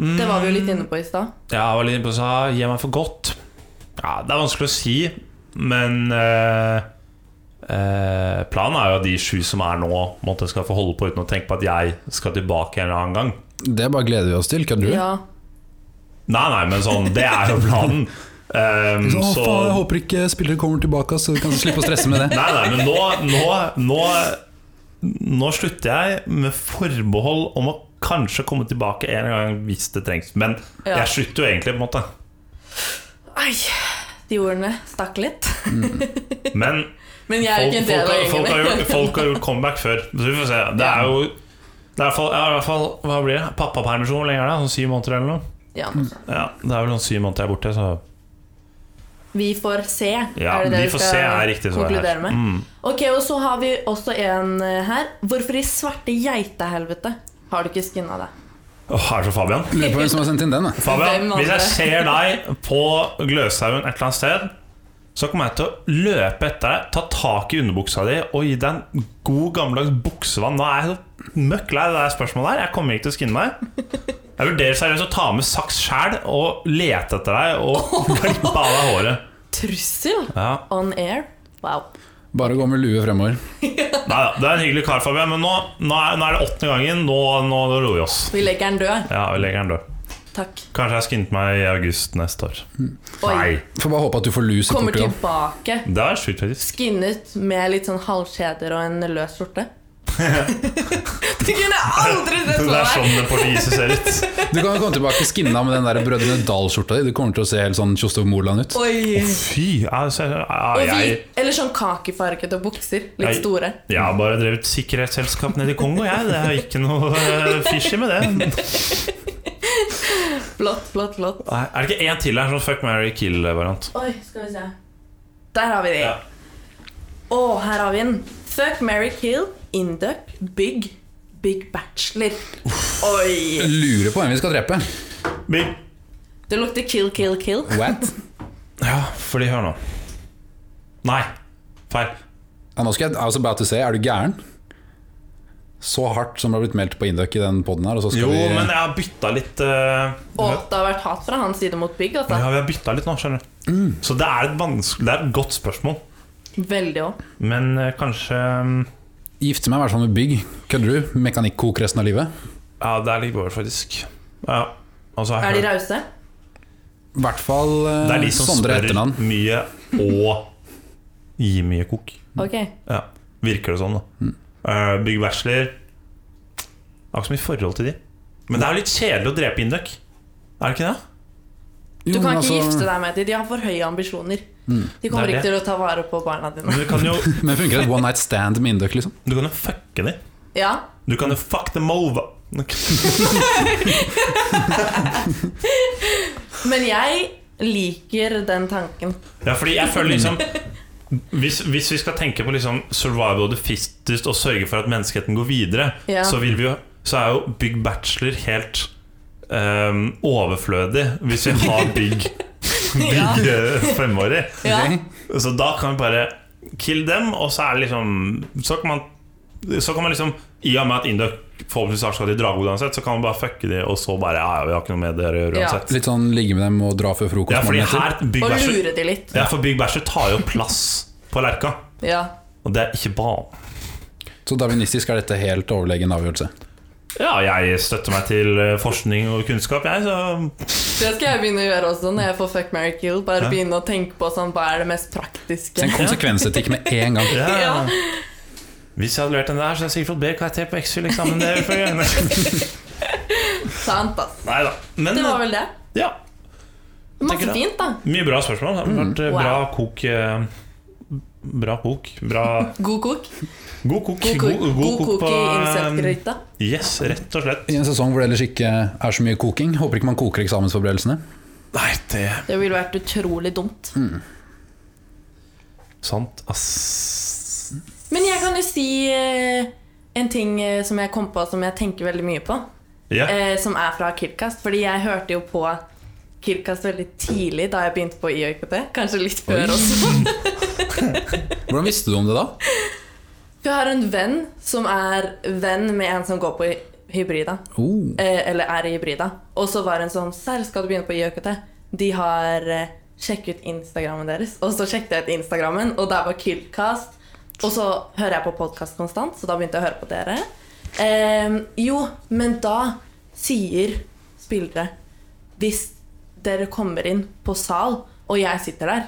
Speaker 3: Det var vi jo litt inne på i stad.
Speaker 1: Ja, jeg var litt inne på det, sa gi meg for godt. Ja, det er vanskelig å si, men eh, eh, planen er jo at de sju som er nå, måtte skal få holde på uten å tenke på at jeg skal tilbake en eller annen gang.
Speaker 2: Det bare gleder vi oss til.
Speaker 1: Mm.
Speaker 2: Kødder du?
Speaker 3: Ja.
Speaker 1: Nei, nei, men sånn, det er jo planen. Um,
Speaker 2: Å,
Speaker 1: så
Speaker 2: faen, jeg håper ikke spillere kommer tilbake, så vi kan slippe å stresse med det.
Speaker 1: Nei, nei, men nå, nå, nå Nå slutter jeg med forbehold om å kanskje komme tilbake en eller annen gang hvis det trengs. Men
Speaker 3: Ja.
Speaker 1: jeg slutter jo egentlig, på en måte.
Speaker 3: Ai, de ordene stakk litt.
Speaker 1: Men
Speaker 3: Men jeg er
Speaker 1: Folk,
Speaker 3: ikke en
Speaker 1: folk,
Speaker 3: del av
Speaker 1: har, folk, har
Speaker 3: gjengen.
Speaker 1: gjort, folk har gjort comeback før. Så vi får se. Det er jo det er i hvert fall, ja, i hvert fall Hva blir det? Pappapermisjon? Hvor lenge er det? Sånn syv måneder eller noe?
Speaker 3: Ja.
Speaker 1: Ja, Det er vel sånn syv måneder jeg er borte, så
Speaker 3: Vi får se.
Speaker 1: ja,
Speaker 3: er det det
Speaker 1: vi får se er riktig svar her.
Speaker 3: konkludere med?
Speaker 1: Mm.
Speaker 3: Ok, og så har vi også en eh, her. Hvorfor i svarte geitehelvete har du ikke skinna deg?
Speaker 1: Åh, er det så Fabian?
Speaker 2: Lurer på hvem som har sendt inn den. Da.
Speaker 1: Fabian,
Speaker 3: Hvem andre?
Speaker 1: hvis jeg ser deg på Gløshaugen et eller annet sted, så kommer jeg til å løpe etter deg, ta tak i underbuksa di og gi deg en god, gammeldags buksevann. Nå er jeg så møkk lei av det der spørsmålet her. Jeg kommer ikke til å skinne meg. Jeg vurderer seriøst å ta med saks sjæl og lete etter deg og klippe av deg håret.
Speaker 3: Trussel
Speaker 1: Ja.
Speaker 3: on air? Wow.
Speaker 2: Bare gå med lue fremover.
Speaker 1: Nei da, det er en hyggelig kar, Fabian, men nå, nå, er, nå er det åttende gangen. Nå, nå roer vi oss.
Speaker 3: Vi legger den død.
Speaker 1: Ja, vi legger den død.
Speaker 3: Takk.
Speaker 1: Kanskje jeg skinnet meg i august neste år.
Speaker 3: Oi.
Speaker 1: Nei,
Speaker 2: Får bare håpe at du får lus i
Speaker 3: Kommer
Speaker 2: Portugal.
Speaker 3: tilbake.
Speaker 1: det er sjukt, faktisk.
Speaker 3: Skinnet med litt sånn halvkjeder og en løs skjorte. du kunne aldri sett
Speaker 1: Det
Speaker 3: for
Speaker 1: er
Speaker 3: deg!
Speaker 1: sånn det portugiset ser ut.
Speaker 2: Du kan jo komme tilbake skinna med den der Brødrene Dal-skjorta di. Du kommer til å se helt sånn Tjostov Moland ut.
Speaker 3: Oi.
Speaker 1: Fy, altså, ja,
Speaker 3: Og vi,
Speaker 1: jeg,
Speaker 3: eller sånn kakefargete bukser. Litt
Speaker 1: Jeg-
Speaker 3: store.
Speaker 1: jeg har bare drevet sikkerhetsselskap nede i Kongo, jeg. Det er jo ikke noe eh, fishy med det.
Speaker 3: Flott, flott, flott.
Speaker 1: Nei, Er det ikke én til her som fuck, marry, eh, kill-variant?
Speaker 3: Oi, skal vi se. Der har vi de.
Speaker 1: Ja.
Speaker 3: Å, her har vi den. Fuck, marry, kill, induck, bygg, big bachelor. Oi!
Speaker 2: Lurer på hvem vi skal drepe.
Speaker 1: Big.
Speaker 3: Det lukter kill, kill, kill.
Speaker 2: What?
Speaker 1: Ja, fordi hør nå. Nei, feil.
Speaker 2: Ja, nå skal jeg, I was about to say, er du gæren? Så hardt som det har blitt meldt på Induck i den poden her, og så skal
Speaker 1: Jo,
Speaker 2: vi
Speaker 1: men jeg har bytta litt eh,
Speaker 3: Å, det har vært hat fra hans side mot bygg,
Speaker 1: Ja,
Speaker 3: altså.
Speaker 1: vi har bytta litt nå, skjønner du. Så det er, et vanskelig, det er et godt spørsmål.
Speaker 3: Veldig òg.
Speaker 1: Men eh, kanskje mm,
Speaker 2: gifte meg i hvert fall med bygg. Kødder du? Mekanikkok resten av livet?
Speaker 1: Ja, det er litt over, faktisk. Ja. Altså, jeg
Speaker 3: Er de
Speaker 1: hører-
Speaker 3: rause?
Speaker 2: I hvert fall eh,
Speaker 1: det er de som
Speaker 2: Sondre
Speaker 1: spør
Speaker 2: etternavn.
Speaker 1: mye og gir mye kok.
Speaker 3: Ok.
Speaker 1: Ja, virker det sånn da Eh, Big Bachelor Jeg har ikke så mye forhold til de Men det er jo litt kjedelig å drepe Induck Er det ikke det?
Speaker 3: Du
Speaker 2: Mm,
Speaker 3: kan
Speaker 2: altså,
Speaker 3: ikke gifte deg med dem. De har for høye ambisjoner. De kommer
Speaker 1: Det er
Speaker 3: ikke til å ta vare på barna dine.
Speaker 1: Men du kan jo,
Speaker 2: Men funker et one night stand med Induck, liksom?
Speaker 1: du kan jo fucke de
Speaker 3: Ja,
Speaker 1: Du kan jo fuck dem over
Speaker 3: Men jeg liker den tanken.
Speaker 1: Ja, fordi jeg føler liksom hvis, hvis vi skal tenke på liksom survival of the fittest og sørge for at menneskeheten går videre,
Speaker 3: Ja.
Speaker 1: så, vil vi jo, så er jo Big Bachelor helt ehm, overflødig hvis vi har big, big
Speaker 3: Ja.
Speaker 1: eh, femårig.
Speaker 3: Ja.
Speaker 2: Ok?
Speaker 1: Så da kan vi bare kill dem, og så er det liksom Så kan man, så kan man liksom I og med at Induc forhåpentligvis har skal til Dragvoll uansett, så kan man bare fucke de, og så bare Ja, ja, vi har ikke noe med det å gjøre
Speaker 3: Ja.
Speaker 1: uansett.
Speaker 2: Litt sånn ligge med dem og dra før frokost.
Speaker 1: Ja, fordi
Speaker 2: morgenen etter.
Speaker 1: her Big
Speaker 3: Og
Speaker 1: Basher,
Speaker 3: lure de litt.
Speaker 1: ja, for Big Basher tar jo plass på lerka,
Speaker 3: Ja.
Speaker 1: og det er ikke banen.
Speaker 2: Så darwinistisk er dette helt overlegen avgjørelse.
Speaker 1: Ja, jeg støtter meg til eh, forskning og kunnskap, jeg, så
Speaker 3: Det skal jeg begynne å gjøre også når jeg får fuck, marry, kill. Bare begynne å tenke på sånn, hva er det mest praktiske.
Speaker 2: Tenk konsekvensetikk med en gang.
Speaker 1: ja.
Speaker 3: Ja.
Speaker 1: Hvis jeg hadde levert den der, så hadde jeg sikkert fått B karakter på X-Fill eksamen. Det er jo for gjerne.
Speaker 3: Sant, ass.
Speaker 1: Neida. Men
Speaker 3: Det var vel det.
Speaker 1: ja, Tenker
Speaker 3: Masse
Speaker 1: det.
Speaker 3: fint, da.
Speaker 1: mye bra spørsmål. Det har vært eh,
Speaker 3: Mm. Wow.
Speaker 1: bra kok. eh, Bra kok. Bra
Speaker 3: God kok.
Speaker 1: God kok.
Speaker 3: God kok,
Speaker 1: god- god kok
Speaker 3: i
Speaker 1: på, eh, um,
Speaker 3: insektgryta.
Speaker 1: Yes, rett og slett.
Speaker 2: I en sesong hvor det ellers ikke er så mye koking. Håper ikke man koker eksamensforberedelsene.
Speaker 1: Nei, det er
Speaker 3: Det ville vært utrolig dumt.
Speaker 1: Mm. sant, ass.
Speaker 3: Men jeg kan jo si eh, en ting eh, som jeg kom på som jeg tenker veldig mye på.
Speaker 1: Ja,
Speaker 3: Eh, som er fra Kirkast. Fordi jeg hørte jo på Kirkast veldig tidlig da jeg begynte på IOKT. Kanskje litt før
Speaker 2: Oi.
Speaker 3: også.
Speaker 2: Hvordan visste du om det da?
Speaker 3: For jeg har en venn som er venn med en som går på hy- hybrida.
Speaker 2: Oh,
Speaker 3: Eh, eller er i hybrida. Og så var hun sånn Serr, skal du begynne på IOKT? De har eh, Sjekk ut Instagrammen deres. Og så sjekket jeg ut Instagrammen, og der var Killcast. Og så hører jeg på podkast konstant, så da begynte jeg å høre på dere. Eh, jo, men da sier spillere Hvis dere kommer inn på sal, og jeg sitter der,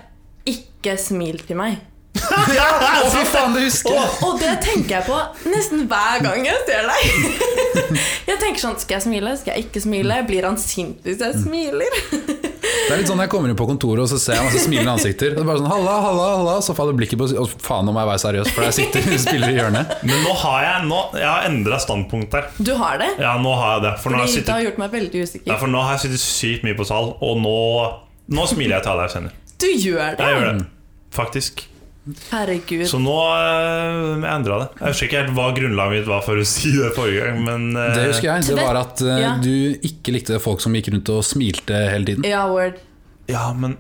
Speaker 3: ikke smil til meg.
Speaker 2: fy faen, det husker jeg!
Speaker 3: Og det tenker jeg på nesten hver gang jeg ser deg. Jeg tenker sånn Skal jeg smile? Skal jeg ikke smile? Blir han sint hvis jeg smiler?
Speaker 2: Det er litt sånn når jeg kommer inn på kontoret og så ser jeg masse smilende ansikter. Og det er bare sånn, halla, halla, halla Så faller blikket på Og faen, nå må jeg være seriøs, for jeg sitter og spiller i hjørnet.
Speaker 1: Men nå har jeg nå, Jeg har endra standpunkt her.
Speaker 3: Du har det?
Speaker 1: Ja, nå har jeg det. For nå har jeg
Speaker 3: Det har
Speaker 1: sittet,
Speaker 3: gjort meg veldig
Speaker 1: ja,
Speaker 3: usikker.
Speaker 1: for nå har jeg sittet sykt mye på sal, og nå, nå smiler jeg til alle jeg kjenner.
Speaker 3: Du gjør det?
Speaker 1: Jeg gjør det. Faktisk.
Speaker 3: Herregud.
Speaker 1: Så nå øh, jeg endra det. Jeg husker ikke helt hva grunnlaget mitt var for å si det forrige gang, men øh,
Speaker 2: Det husker jeg. Det var at eh,
Speaker 3: Ja.
Speaker 2: du ikke likte folk som gikk rundt og smilte hele tiden.
Speaker 3: Ja, word.
Speaker 1: Ja, men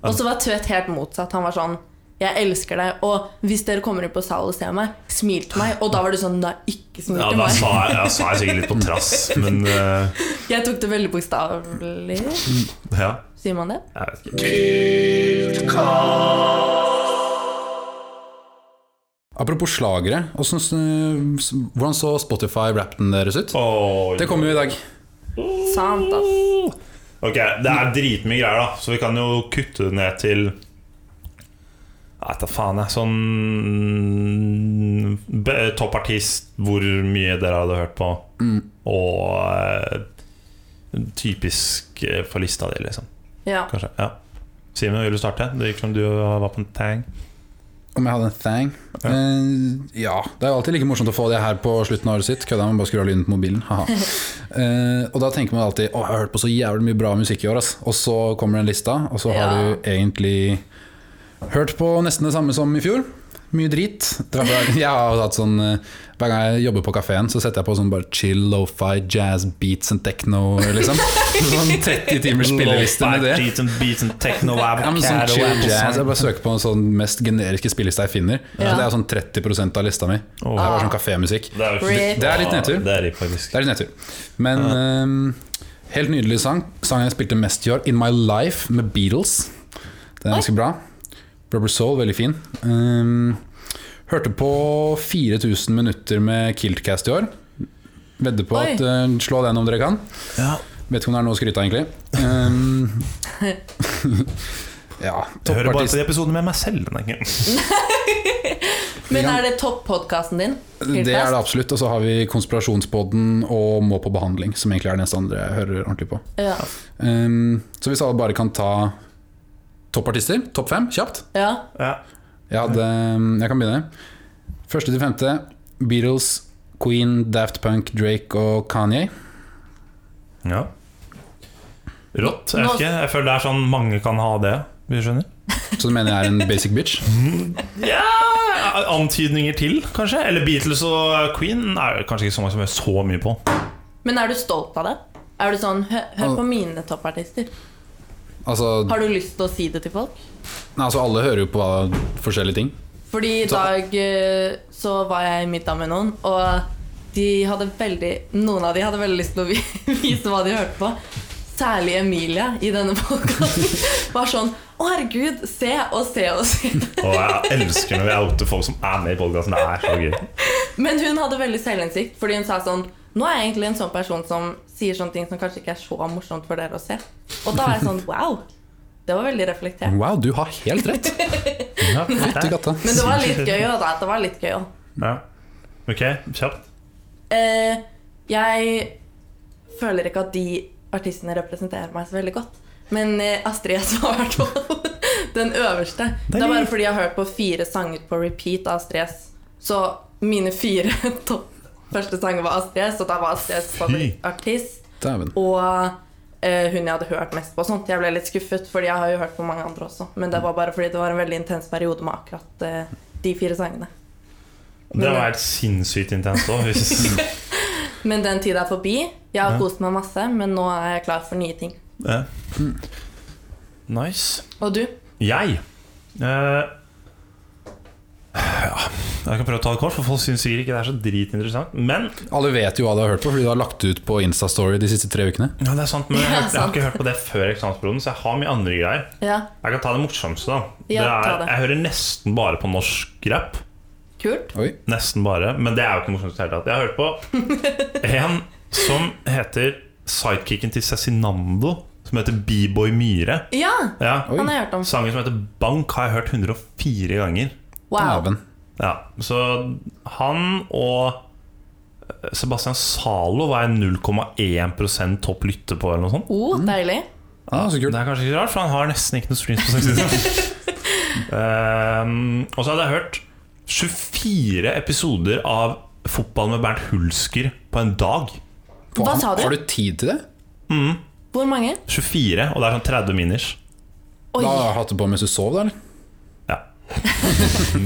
Speaker 3: Og så var Tvedt helt motsatt. Han var sånn jeg elsker deg, og hvis dere kommer inn på sal og ser meg, smil til meg. Og da var du sånn Nei, ikke smil
Speaker 1: ja,
Speaker 3: til
Speaker 1: da
Speaker 3: meg.
Speaker 1: sa jeg, ja, sa jeg sikkert litt på trass, men øh,
Speaker 3: Jeg tok det veldig bokstavelig.
Speaker 1: Ja,
Speaker 3: Sier man det?
Speaker 1: jeg vet ikke.
Speaker 2: Apropos slagere, hvordan, s- s- hvordan så Spotify-rappen deres ut?
Speaker 1: Åh,
Speaker 2: Det kommer jo i dag.
Speaker 3: Sant, ass.
Speaker 1: Ok, Det er dritmye greier, da, så vi kan jo kutte det ned til Jeg vet da faen, jeg. Sånn be- Toppartist, hvor mye dere hadde hørt på, Mm. og eh, typisk eh, for lista di, liksom.
Speaker 3: Ja.
Speaker 1: Kanskje. Ja. Simen, vil du starte? Det gikk som du var på en tang.
Speaker 2: Om jeg hadde en thang? Ja. ja. Det er jo alltid like morsomt å få det her på slutten av året sitt. Kødda, man bare skrur av lyden på mobilen. Haha. Eh, og da tenker man alltid Å, jeg har hørt på så jævlig mye bra musikk i år, ass. Og så kommer den lista, og så har
Speaker 3: Ja.
Speaker 2: du egentlig hørt på nesten det samme som i fjor. Mye drit. Det var bare- Jeg har hatt sånn eh, Hver gang jeg jobber på kafeen, så setter jeg på sånn bare chill, lo-fi, jazz, beats and techno, liksom. Sånn 30 timers spilleliste med det.
Speaker 1: Beats and beats and techno wab,
Speaker 2: Ja, men sånn
Speaker 1: cat,
Speaker 2: chill
Speaker 1: wab,
Speaker 2: jazz Jeg
Speaker 1: sånn.
Speaker 2: bare søker på den sånn mest generiske spillelista jeg finner.
Speaker 3: Ja.
Speaker 2: Så Det er sånn 30 av lista mi. Det er bare sånn kafémusikk.
Speaker 1: Det er, jo ikke-
Speaker 3: Rip.
Speaker 2: Det er litt nedtur.
Speaker 1: Det er rip, faktisk.
Speaker 2: Det er litt nedtur. Men ehm, helt nydelig sang. Sangen jeg spilte mest i år, 'In My Life', med Beatles. Den er ganske bra. Rubber Soul, veldig fin. Ehm, hørte på 4000 minutter med Kiltcast i år. Vedder på
Speaker 3: Oi.
Speaker 2: at eh, Slå den om dere kan.
Speaker 1: Ja.
Speaker 2: Vet ikke om det er noe å skryte av, egentlig. Ehm, ja,
Speaker 1: Jeg hører bare
Speaker 2: toppartist.
Speaker 1: til episoden med meg selv. den er ikke-
Speaker 3: Men er det topp-podkasten din?
Speaker 2: Det er det absolutt. Og så har vi Konspirasjonspodden og Må på behandling, som egentlig er den eneste andre jeg hører ordentlig på.
Speaker 3: Ja.
Speaker 2: Um, så hvis alle bare kan ta toppartister, topp fem, kjapt
Speaker 3: ja.
Speaker 1: Ja.
Speaker 2: Jeg, hadde, jeg kan begynne. Første til femte Beatles, Queen, Daft Punk, Drake og Kanye.
Speaker 1: Ja. Rått. Jeg, vet ikke. jeg føler det er sånn mange kan ha det. Hvis du skjønner?
Speaker 2: Så du mener jeg er en basic bitch?
Speaker 1: Ja, Antydninger til, kanskje? Eller Beatles og Queen er det kanskje ikke så mange som hører så mye på.
Speaker 3: Men er du stolt av det? Er du sånn Hør, hør på mine toppartister.
Speaker 2: Altså,
Speaker 3: Har du lyst til å si det til folk?
Speaker 2: nei, altså alle hører jo på forskjellige ting.
Speaker 3: Fordi i dag eh, så var jeg i middag med noen, og de hadde veldig, noen av de hadde veldig lyst til å vi- vise hva de hørte på. Særlig Emilia i denne podkasten var sånn Å, herregud, se og se og se.
Speaker 1: Og jeg elsker når vi outer folk som er med i podkasten. Det er så gøy.
Speaker 3: Men hun hadde veldig selvinnsikt, fordi hun sa sånn Nå er jeg egentlig en sånn person som sier sånne ting som kanskje ikke er så morsomt for dere å se. Og da var jeg sånn Wow. Det var veldig reflektert.
Speaker 2: Wow, du har helt rett!
Speaker 1: Ja,
Speaker 2: Fytti
Speaker 1: det er-
Speaker 2: katta.
Speaker 3: Men det var litt gøy òg, da. Det var litt gøy også.
Speaker 1: ja. Ok, kjapt.
Speaker 3: Eh, jeg føler ikke at de artistene representerer meg så veldig godt. Men eh, Astrid S var i hvert fall den øverste. Det er bare fordi jeg har hørt på fire sanger på repeat av Astrid S. Så mine fire topp første sanger var Astrid S, og da var Astrid S favorittartist.
Speaker 2: Dæven.
Speaker 3: Og eh, hun jeg hadde hørt mest på. og sånt Jeg ble litt skuffet, fordi jeg har jo hørt på mange andre også. Men det var bare fordi det var en veldig intens periode med akkurat eh, de fire sangene.
Speaker 1: Det var helt sinnssykt intenst òg.
Speaker 3: Men den tida er forbi. Jeg har kost meg masse, men nå er jeg klar for nye ting.
Speaker 1: Ja. Nice.
Speaker 3: Og du?
Speaker 1: Jeg eh, Ja, jeg kan prøve å ta det kort, for folk syns sikkert ikke det er så dritinteressant. Men
Speaker 2: Alle vet jo hva du har hørt på, fordi du har lagt ut på Instastory de siste tre ukene.
Speaker 1: ja, det er sant, men jeg,
Speaker 3: Ja,
Speaker 1: hørte- jeg har
Speaker 3: sant.
Speaker 1: ikke hørt på det før eksamensperioden, så jeg har mye andre greier.
Speaker 3: Ja,
Speaker 1: Jeg kan ta det morsomste, da.
Speaker 3: Ja,
Speaker 1: det
Speaker 3: ta
Speaker 1: er,
Speaker 3: det.
Speaker 1: jeg hører nesten bare på norsk rap.
Speaker 3: Kult.
Speaker 2: Oi.
Speaker 1: Nesten bare, men det er jo ikke morsomt i det hele tatt. Jeg har hørt på en som heter sidekicken til Cezinando, som heter B-boy Myhre.
Speaker 3: Ja,
Speaker 1: Ja.
Speaker 3: han har jeg hørt om.
Speaker 1: Sangen som heter Bank, har jeg hørt 104 ganger.
Speaker 3: Wow.
Speaker 2: Dæven.
Speaker 1: Ja, Så han og eh, Sebastian Zalo var jeg 0,1 topp lytter på, eller noe sånt.
Speaker 3: Oh, deilig.
Speaker 2: Ah, så
Speaker 1: Det
Speaker 2: kult.
Speaker 1: er kanskje ikke så rart, for han har nesten ikke noen streams på sangsidene. um, og så hadde jeg hørt 24 episoder av Fotball med Bernt Hulsker på en dag.
Speaker 3: Hva
Speaker 2: Faen,
Speaker 3: sa du?
Speaker 2: Har du tid til det?
Speaker 3: Hvor mange?
Speaker 1: 24, og det er sånn 30 miners.
Speaker 3: Oi.
Speaker 2: Da har jeg hatt det på mens du sov, da? eller?
Speaker 1: Ja.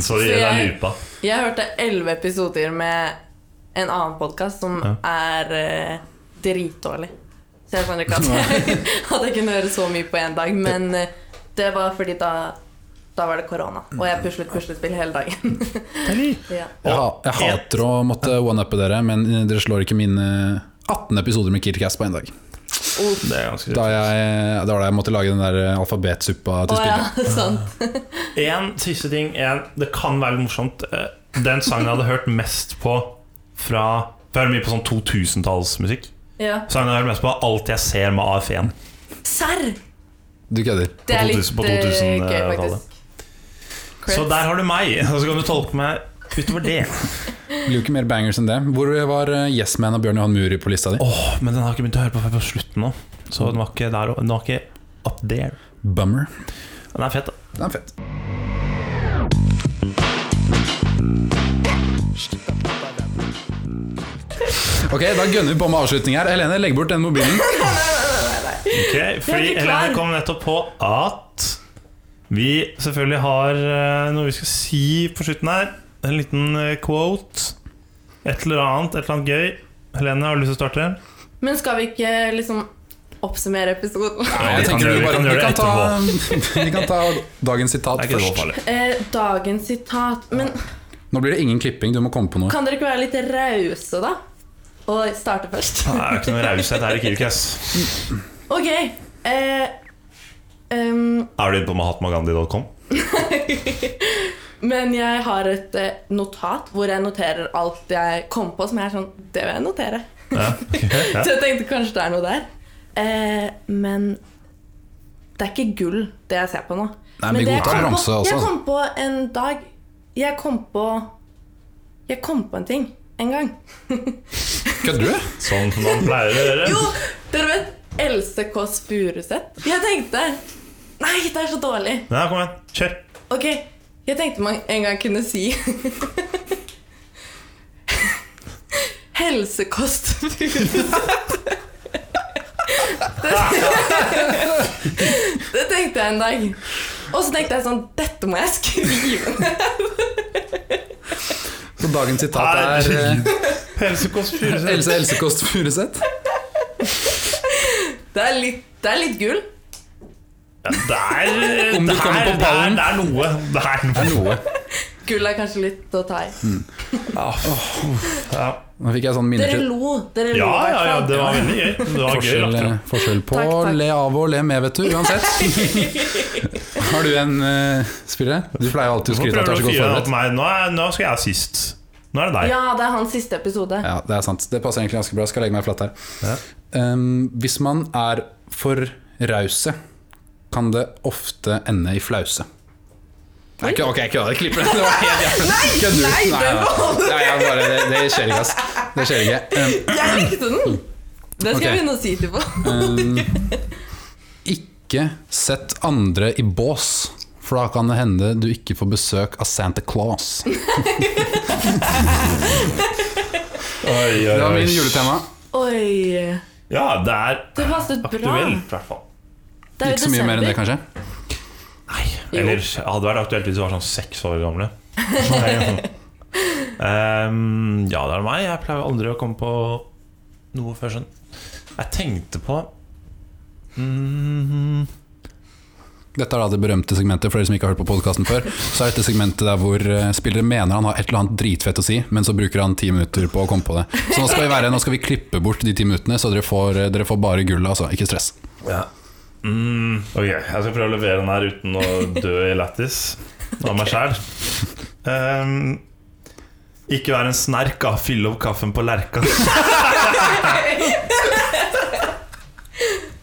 Speaker 1: så det gjelder
Speaker 3: jeg-
Speaker 1: lupa.
Speaker 3: Jeg hørte elleve episoder med en annen podkast som er eh, dritdårlig. Så jeg skjønner ikke at jeg, at jeg kunne høre så mye på én dag. Men eh, det var fordi da, da var det korona, og jeg puslet puslespill hele dagen. ja.
Speaker 2: Jeg, ha- jeg hater å måtte one-uppe dere, men eh, dere slår ikke mine 18 episoder med Kirkast på én dag.
Speaker 1: Det er ganske
Speaker 2: Da, jeg, da var det jeg måtte lage den der eh, alfabetsuppa til
Speaker 3: Å ja,
Speaker 2: spillet.
Speaker 3: sant.
Speaker 1: En siste ting. En, det kan være litt morsomt. Eh, Den sangen jeg hadde hørt mest på fra Jeg hører mye på sånn 2000-tallsmusikk.
Speaker 3: Ja.
Speaker 1: Sangen jeg hører mest på, er 'Alt jeg ser' med AF1.
Speaker 3: Serr!
Speaker 2: Du kødder.
Speaker 3: Det er
Speaker 1: På
Speaker 3: litt
Speaker 1: 2000 på
Speaker 3: eh,
Speaker 1: 2000,
Speaker 3: gøy,
Speaker 1: eh,
Speaker 3: faktisk. Creds.
Speaker 1: Så der har du meg, og så kan du tolke meg utover det.
Speaker 2: Blir jo ikke mer bangers enn det. Hvor var eh, Yes Man av Bjørn Johan Muri på lista di?
Speaker 1: Åh, Men den har jeg ikke begynt å høre på før på slutten nå. Så den var ikke der og- Den var ikke up there.
Speaker 2: Bummer.
Speaker 1: Den er fet. da.
Speaker 2: Den er fett. Ok, Da gønner vi på med avslutning her. Helene, legg bort den mobilen.
Speaker 1: Ok, fordi
Speaker 3: ikke klar.
Speaker 1: Helene kom nettopp på at vi selvfølgelig har eh, noe vi skal si på slutten her. En liten eh, quote. Et eller annet, et eller annet gøy. Helene, har du lyst til å starte?
Speaker 3: Men skal vi ikke liksom oppsummere episoden?
Speaker 1: vi
Speaker 2: Jeg
Speaker 1: kan
Speaker 2: tenker
Speaker 1: gjøre- vi
Speaker 2: bare-
Speaker 1: kan gjøre det
Speaker 2: ta, vi kan ta dagens sitat
Speaker 1: Det er ikke så
Speaker 2: først.
Speaker 1: farlig.
Speaker 3: Eh, dagens sitat Men
Speaker 2: Nå blir det ingen klipping, du må komme på noe.
Speaker 3: kan dere ikke være litt rause, da? Og starte først?
Speaker 1: Det er jo ikke noe raushet her i Kirkas.
Speaker 3: Ok. Eh, ehm,
Speaker 1: Er du inne på mahatmagandhi.com?
Speaker 3: men jeg har et eh, notat hvor jeg noterer alt jeg kom på som jeg er sånn Det vil jeg notere.
Speaker 1: Ja. ok, ja.
Speaker 3: Så jeg tenkte kanskje det er noe der. Eh, men det er ikke gull, det jeg ser på nå.
Speaker 2: Nei, men vi
Speaker 3: det jeg
Speaker 2: godtar
Speaker 3: kom
Speaker 2: ramse
Speaker 3: på,
Speaker 2: også,
Speaker 3: Jeg
Speaker 2: altså.
Speaker 3: kom på en dag Jeg kom på Jeg kom på en ting en gang.
Speaker 2: Kødder du?
Speaker 1: Sånn som man pleier å gjøre.
Speaker 3: Jo, dere vet Else Kåss Furuseth? Jeg tenkte Nei, det er så dårlig.
Speaker 1: Ja, kom igjen. Kjør.
Speaker 3: Ok, jeg tenkte man en gang kunne si Helsekost Furuseth. Det, det tenkte jeg en dag. Og så tenkte jeg sånn Dette må jeg skrive ned.
Speaker 2: Så dagens sitat er eh,
Speaker 1: Helsekost Furuseth.
Speaker 2: Else Elsekost Furuseth.
Speaker 3: Det er litt, det er litt gull.
Speaker 1: Ja, det er
Speaker 2: Om du
Speaker 1: det
Speaker 2: kommer
Speaker 1: er-
Speaker 2: på ballen.
Speaker 1: Det er, det er noe. Det er noe.
Speaker 2: Det er noe.
Speaker 3: Gull er kanskje litt å ta i.
Speaker 2: Hmm.
Speaker 1: Ja,
Speaker 2: Nå fikk jeg sånn minner
Speaker 3: Dere
Speaker 2: til
Speaker 3: lo. Dere lo.
Speaker 1: ja,
Speaker 3: i hvert
Speaker 1: ja, ja,
Speaker 3: fall.
Speaker 1: det var veldig gøy. Det var gøy
Speaker 2: forskjell, eh,
Speaker 1: latter.
Speaker 2: forskjell på
Speaker 3: Takk, takk.
Speaker 2: le av og le med, vet du. Uansett. Har du en eh, spiller? Du pleier alltid å
Speaker 1: Hvorfor
Speaker 2: skryte av at
Speaker 1: prøver du å
Speaker 2: du er så
Speaker 1: fyre opp
Speaker 2: godt forberedt.
Speaker 1: meg? Nå, er, nå skal jeg sist. Nå er det deg.
Speaker 3: Ja, det er hans siste episode.
Speaker 2: Ja, det er sant. Det passer egentlig ganske bra. Jeg skal legge meg flatt her.
Speaker 1: Ja.
Speaker 2: Um, hvis man er for rause, kan det ofte ende i flause. Nei, ikke, ok, ikke jeg klipper det. Det var helt jævlig. Kødder du?
Speaker 3: nei, det var-
Speaker 2: Nei, jeg bare, det, det skjer ikke, ass. Det skjer ikke. Um,
Speaker 3: Jeg likte den! Det skal
Speaker 2: Ok.
Speaker 3: jeg begynne å si til folk.
Speaker 2: ehm, ikke sett andre i bås, for da kan det hende du ikke får besøk av Santa Claus.
Speaker 1: Oi, oi,
Speaker 2: Det var
Speaker 1: oi.
Speaker 2: min juletema.
Speaker 3: Oi.
Speaker 1: Ja, det er
Speaker 3: Det passet bra.
Speaker 1: aktuelt, i hvert fall.
Speaker 3: Det er jo
Speaker 2: Ikke så mye mer enn det,
Speaker 3: desember.
Speaker 2: kanskje.
Speaker 1: Eller ja, hadde vært aktuelt hvis du var sånn seks år gamle. Ehm, ja, det er meg. Jeg pleier aldri å komme på noe før sånn. Jeg tenkte på mm,
Speaker 2: Dette er da det berømte segmentet for dere som ikke har hørt på podkasten før. Så er dette segmentet der hvor eh, spillere mener han har et eller annet dritfett å si, men så bruker han ti minutter på å komme på det. Så nå skal vi, være, nå skal vi klippe bort de ti minuttene, så dere får, eh, dere får bare gullet, altså. Ikke stress.
Speaker 1: mm, Ok, jeg skal prøve å levere den her uten å dø i lættis av meg sjæl. Ehm, ikke vær en snerk, da. Fyll opp kaffen på lerka.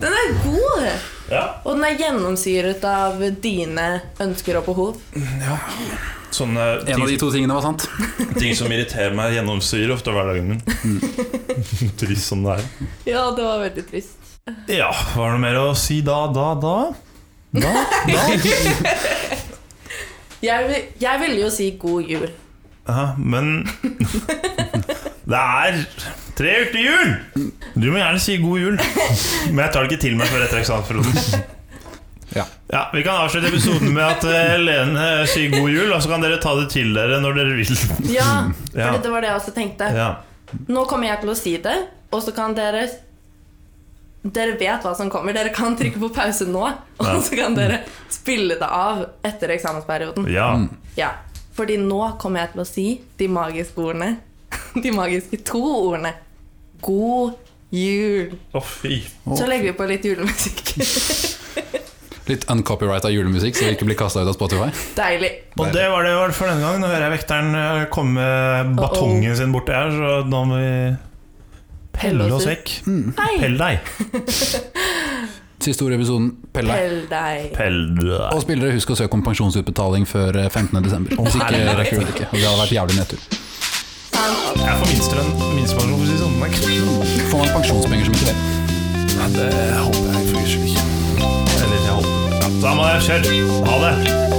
Speaker 3: Den er god!
Speaker 1: Ja,
Speaker 3: Og den er gjennomsyret av dine ønsker og behov.
Speaker 1: Sånne
Speaker 2: En
Speaker 1: ting,
Speaker 2: av de to tingene var sant.
Speaker 1: ting som irriterer meg, gjennomsyrer ofte hverdagen min.
Speaker 2: Mm.
Speaker 1: Trist som det er.
Speaker 3: Ja, det var veldig trist.
Speaker 1: Ja, var det noe mer å si da, da, da?
Speaker 2: Da, da.
Speaker 3: Jeg, vil- jeg ville jo si god jul.
Speaker 1: Ja, men Det er tre uker til jul! Du må gjerne si god jul. Men jeg tar det ikke til meg før etter eksamensperioden.
Speaker 2: Ja.
Speaker 1: Ja, Vi kan avslutte episoden med at eh, Lene sier god jul, og så kan dere ta det til dere når dere vil.
Speaker 3: Ja,
Speaker 1: Ja.
Speaker 3: for det var det jeg også tenkte.
Speaker 1: Ja,
Speaker 3: Nå kommer jeg til å si det, og så kan dere Dere vet hva som kommer. Dere kan trykke på pause nå, og
Speaker 1: Ja.
Speaker 3: så kan dere spille det av etter eksamensperioden.
Speaker 1: ja.
Speaker 3: Ja, fordi nå kommer jeg til å si de magiske ordene. De magiske to ordene. God jul.
Speaker 1: Å, fy.
Speaker 3: Så legger vi på litt julemusikk.
Speaker 2: Litt uncopyrighta julemusikk, så vi ikke blir kasta ut av Spotify.
Speaker 3: Deilig.
Speaker 1: Og det var det var for denne gang. Nå hører jeg vekteren eh, komme med batongen sin borti her, så da må vi pelle oss vekk.
Speaker 3: Hei.
Speaker 1: Pell deg.
Speaker 2: Siste ord i episoden, Pelle.
Speaker 3: Pell deg.
Speaker 1: Pell deg.
Speaker 2: Og spillere, husk å søke om pensjonsutbetaling før eh, 15. desember Hvis ikke rekker vi det ikke. Det hadde vært jævlig nedtur.
Speaker 1: Jeg får minstrøm, minstepensjon, for å si det sånn. men ikke-
Speaker 2: Får man pensjonspenger som ikke det?
Speaker 1: Eller, jeg håper. Ja, da må jeg kjøre. Ha det.